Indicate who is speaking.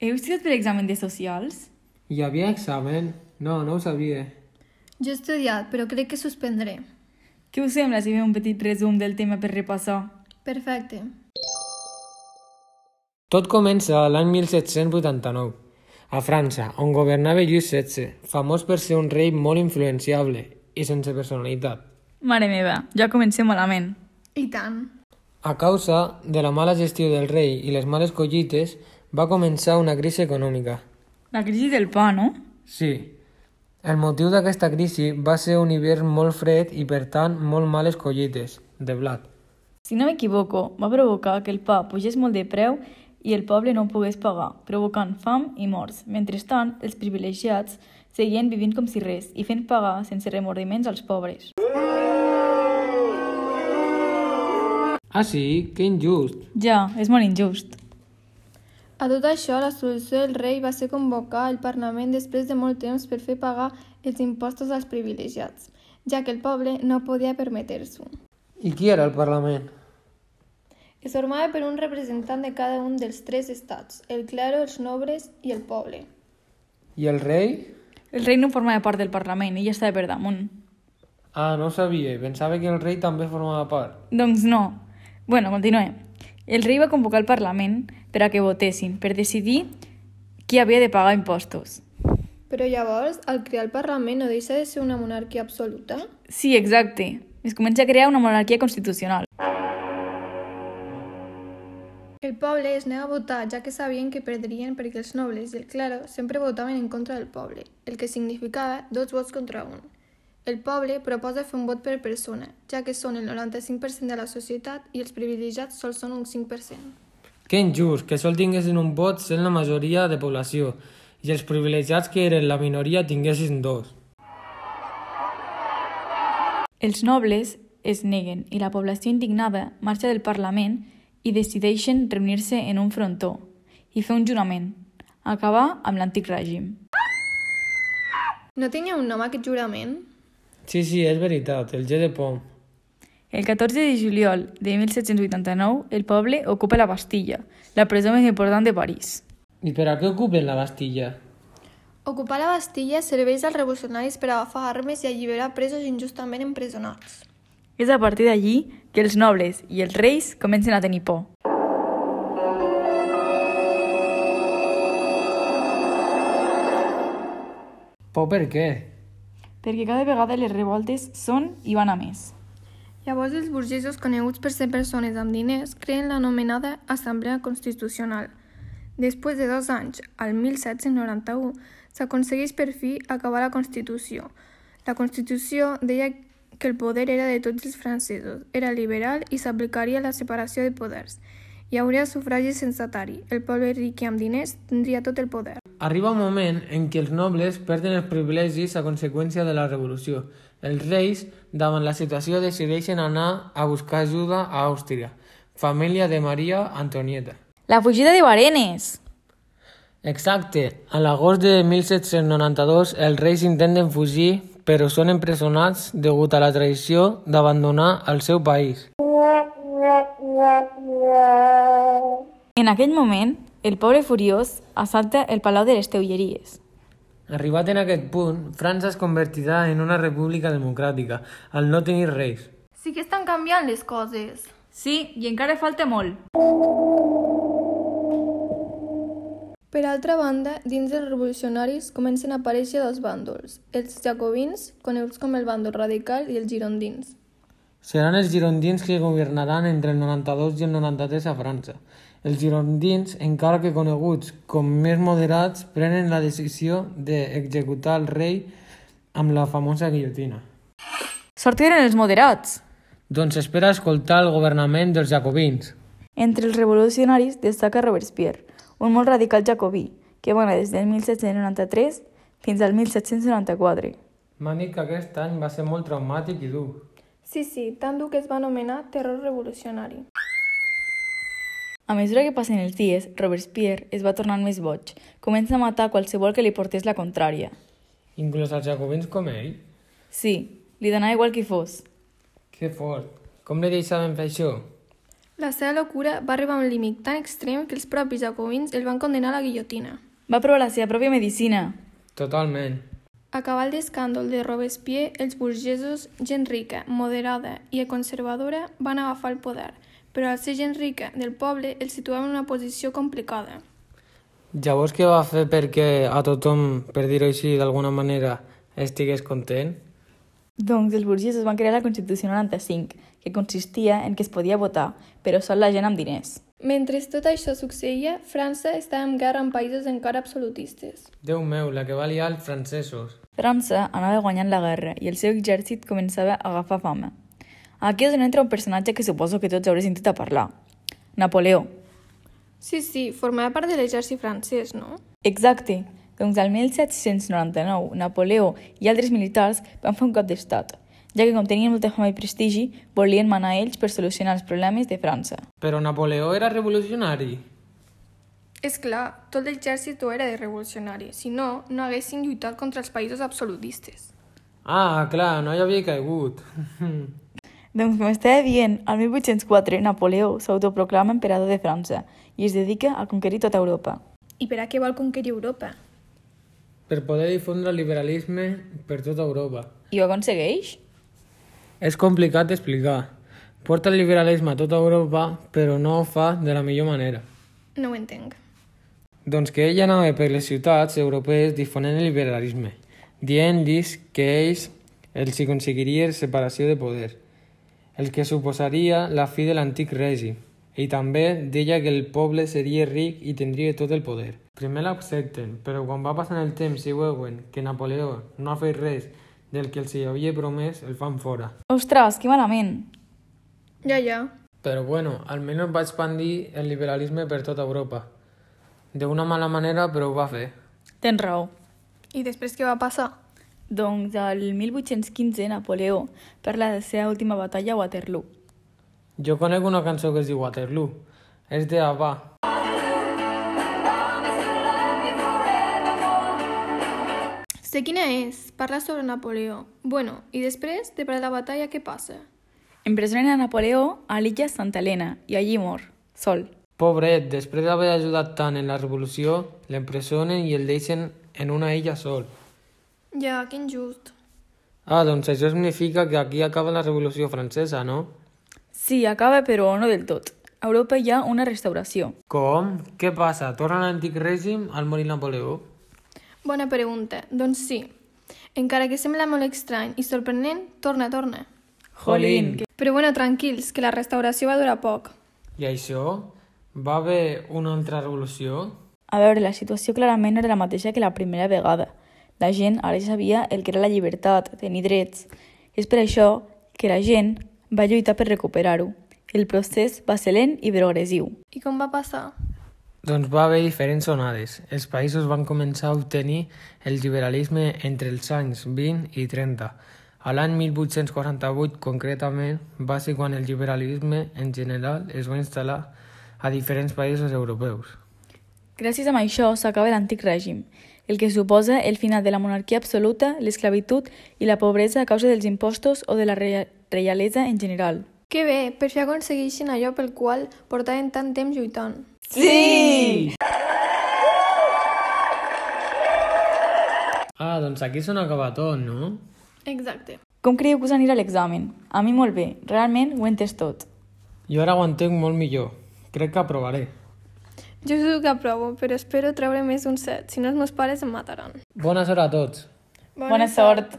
Speaker 1: Heu estudiat per examen de socials?
Speaker 2: Hi havia examen? No, no ho sabia.
Speaker 3: Jo he estudiat, però crec que suspendré.
Speaker 1: Què us sembla si fem un petit resum del tema per repassar?
Speaker 3: Perfecte.
Speaker 2: Tot comença l'any 1789, a França, on governava Lluís XVI, famós per ser un rei molt influenciable i sense personalitat,
Speaker 1: Mare meva, ja comencem malament.
Speaker 3: I tant.
Speaker 2: A causa de la mala gestió del rei i les males collites, va començar una crisi econòmica.
Speaker 1: La crisi del pa, no?
Speaker 2: Sí, el motiu d'aquesta crisi va ser un hivern molt fred i, per tant, molt males collites de blat.
Speaker 1: Si no m'equivoco, va provocar que el pa pugés molt de preu i el poble no ho pogués pagar, provocant fam i morts. Mentrestant, els privilegiats seguien vivint com si res i fent pagar sense remordiments als pobres.
Speaker 2: Ah, sí? Que injust!
Speaker 1: Ja, és molt injust.
Speaker 3: A tot això, la solució del rei va ser convocar el Parlament després de molt temps per fer pagar els impostos als privilegiats, ja que el poble no podia permetre-s'ho.
Speaker 2: I qui era el Parlament?
Speaker 3: Es formava per un representant de cada un dels tres estats, el clero, els nobles i el poble.
Speaker 2: I el rei?
Speaker 1: El rei no formava part del Parlament i ja estava per damunt.
Speaker 2: Ah, no ho sabia. Pensava que el rei també formava part.
Speaker 1: Doncs no. Bueno, continuem. El rei va convocar el Parlament per a que votessin, per decidir qui havia de pagar impostos.
Speaker 3: Però llavors, al crear el Parlament no deixa de ser una monarquia absoluta?
Speaker 1: Sí, exacte. Es comença a crear una monarquia constitucional.
Speaker 3: El poble es nega a votar, ja que sabien que perdrien perquè els nobles i el clero sempre votaven en contra del poble, el que significava dos vots contra un. El poble proposa fer un vot per persona, ja que són el 95% de la societat i els privilegiats sols són un 5%.
Speaker 2: Que injust, que sol tinguessin un vot sent la majoria de població i els privilegiats que eren la minoria tinguessin dos.
Speaker 1: Els nobles es neguen i la població indignada marxa del Parlament i decideixen reunir-se en un frontó i fer un jurament, acabar amb l'antic règim.
Speaker 3: No tenia un nom aquest jurament?
Speaker 2: Sí, sí, és veritat, el G de Pom.
Speaker 1: El 14 de juliol de 1789, el poble ocupa la Bastilla, la presó més important de París.
Speaker 2: I per a què ocupen la Bastilla?
Speaker 3: Ocupar la Bastilla serveix als revolucionaris per agafar armes i alliberar presos injustament empresonats.
Speaker 1: És a partir d'allí que els nobles i els reis comencen a tenir por.
Speaker 2: Por per què?
Speaker 1: Perquè cada vegada les revoltes són i van a més.
Speaker 3: Llavors, els burgesos coneguts per ser persones amb diners creen l'anomenada Assemblea Constitucional. Després de dos anys, al 1791, s'aconsegueix per fi acabar la Constitució. La Constitució deia que el poder era de tots els francesos, era liberal i s'aplicaria la separació de poders. Hi hauria sufragi censatari. El poble ric i amb diners tindria tot el poder.
Speaker 2: Arriba un moment en què els nobles perden els privilegis a conseqüència de la revolució. Els reis, davant la situació, decideixen anar a buscar ajuda a Àustria, família de Maria Antonieta.
Speaker 1: La fugida de Barenes!
Speaker 2: Exacte, a l'agost de 1792 els reis intenten fugir però són empresonats degut a la traïció d'abandonar el seu país.
Speaker 1: En aquell moment, el pobre furiós assalta el Palau de les Teulleries.
Speaker 2: Arribat en aquest punt, França es convertirà en una república democràtica, al no tenir reis.
Speaker 3: Sí que estan canviant les coses.
Speaker 1: Sí, i encara falta molt.
Speaker 3: Per altra banda, dins dels revolucionaris comencen a aparèixer dos bàndols, els jacobins, coneguts com el bàndol radical, i els girondins.
Speaker 2: Seran els girondins que governaran entre el 92 i el 93 a França. Els girondins, encara que coneguts com més moderats, prenen la decisió d'executar el rei amb la famosa guillotina.
Speaker 1: Sortiren els moderats!
Speaker 2: Doncs espera escoltar el governament dels jacobins.
Speaker 1: Entre els revolucionaris destaca Robespierre, un molt radical jacobí, que va anar des del 1793 fins al 1794.
Speaker 2: M'han dit que aquest any va ser molt traumàtic i dur.
Speaker 3: Sí, sí, tan dur que es va anomenar terror revolucionari.
Speaker 1: A mesura que passen els dies, Robespierre es va tornant més boig. Comença a matar qualsevol que li portés la contrària.
Speaker 2: Inclús els jacobins com ell.
Speaker 1: Sí, li donava igual qui fos.
Speaker 2: Que fort. Com li deixaven fer això?
Speaker 3: La seva locura va arribar a un límit tan extrem que els propis jacobins el van condenar a la guillotina.
Speaker 1: Va provar la seva pròpia medicina.
Speaker 2: Totalment.
Speaker 3: Acabar el l'escàndol de Robespierre, els burgesos, gent rica, moderada i conservadora, van agafar el poder, però al ser gent rica del poble els situava en una posició complicada.
Speaker 2: Llavors què va fer perquè a tothom, per dir-ho així d'alguna manera, estigués content?
Speaker 1: Doncs els burgesos van crear la Constitució 95, que consistia en que es podia votar, però sol la gent amb diners.
Speaker 3: Mentre tot això succeïa, França estava en guerra amb països encara absolutistes.
Speaker 2: Déu meu, la que va liar els francesos.
Speaker 1: França anava guanyant la guerra i el seu exèrcit començava a agafar fama. Aquí és on entra un personatge que suposo que tots haureu sentit a parlar. Napoleó.
Speaker 3: Sí, sí, formava part de l'exèrcit francès, no?
Speaker 1: Exacte. Doncs al 1799, Napoleó i altres militars van fer un cop d'estat, ja que com tenien molta fama i prestigi, volien manar ells per solucionar els problemes de França.
Speaker 2: Però Napoleó era revolucionari.
Speaker 3: És clar, tot l'exèrcit ho era de revolucionari, si no, no haguessin lluitat contra els països absolutistes.
Speaker 2: Ah, clar, no hi havia caigut.
Speaker 1: Doncs com estava dient, al 1804 Napoleó s'autoproclama emperador de França i es dedica a conquerir tota Europa.
Speaker 3: I per a què vol conquerir Europa?
Speaker 2: per poder difondre el liberalisme per tota Europa.
Speaker 1: I ho aconsegueix?
Speaker 2: És complicat d'explicar. Porta el liberalisme a tota Europa, però no ho fa de la millor manera.
Speaker 3: No ho entenc.
Speaker 2: Doncs que ell anava per les ciutats europees difonent el liberalisme, dient-los que ells els hi aconseguiria separació de poder, el que suposaria la fi de l'antic règim, i també deia que el poble seria ric i tindria tot el poder. Primer l'accepten, però quan va passant el temps i veuen que Napoleó no ha fet res del que els hi havia promès, el fan fora.
Speaker 1: Ostres, que malament!
Speaker 3: Ja, ja.
Speaker 2: Però bueno, almenys va expandir el liberalisme per tota Europa. D'una mala manera, però ho va fer.
Speaker 1: Tens raó.
Speaker 3: I després què va passar?
Speaker 1: Doncs al 1815 Napoleó parla de la seva última batalla a Waterloo.
Speaker 2: Jo conec una cançó que es diu Waterloo. És de Abba.
Speaker 3: Sé quina és. Parla sobre Napoleó. Bueno, i després, de per la batalla, què passa?
Speaker 1: Empresonen a Napoleó a l'illa Santa Helena i allí mor, sol.
Speaker 2: Pobret, després d'haver ajudat tant en la revolució, l'empresonen i el deixen en una illa sol.
Speaker 3: Ja, que injust.
Speaker 2: Ah, doncs això significa que aquí acaba la revolució francesa, no?
Speaker 1: Sí, acaba però no del tot. A Europa hi ha una restauració.
Speaker 2: Com? Què passa? Torna l'antic règim al morir Napoleó?
Speaker 3: Bona pregunta. Doncs sí. Encara que sembla molt estrany i sorprenent, torna, torna.
Speaker 2: Jolín!
Speaker 3: Però bueno, tranquils, que la restauració va durar poc.
Speaker 2: I això? Va haver una altra revolució?
Speaker 1: A veure, la situació clarament no era la mateixa que la primera vegada. La gent ara ja sabia el que era la llibertat, tenir drets. És per això que la gent va lluitar per recuperar-ho. El procés va ser lent i progressiu.
Speaker 3: I com va passar?
Speaker 2: Doncs va haver diferents onades. Els països van començar a obtenir el liberalisme entre els anys 20 i 30. A l'any 1848, concretament, va ser quan el liberalisme en general es va instal·lar a diferents països europeus.
Speaker 1: Gràcies a això s'acaba l'antic règim, el que suposa el final de la monarquia absoluta, l'esclavitud i la pobresa a causa dels impostos o de la rea- reialesa en general.
Speaker 3: Que bé, per fi aconsegueixen allò pel qual portaven tant temps lluitant.
Speaker 1: Sí!
Speaker 2: Ah, doncs aquí s'on acaba tot, no?
Speaker 3: Exacte.
Speaker 1: Com creieu que us anirà l'examen? A mi molt bé, realment ho he entès tot.
Speaker 2: Jo ara ho entenc molt millor. Crec que aprovaré.
Speaker 3: Jo suposo que aprovo, però espero treure més d'un set, si no els meus pares em mataran.
Speaker 2: Bona sort a tots!
Speaker 1: Bona sort!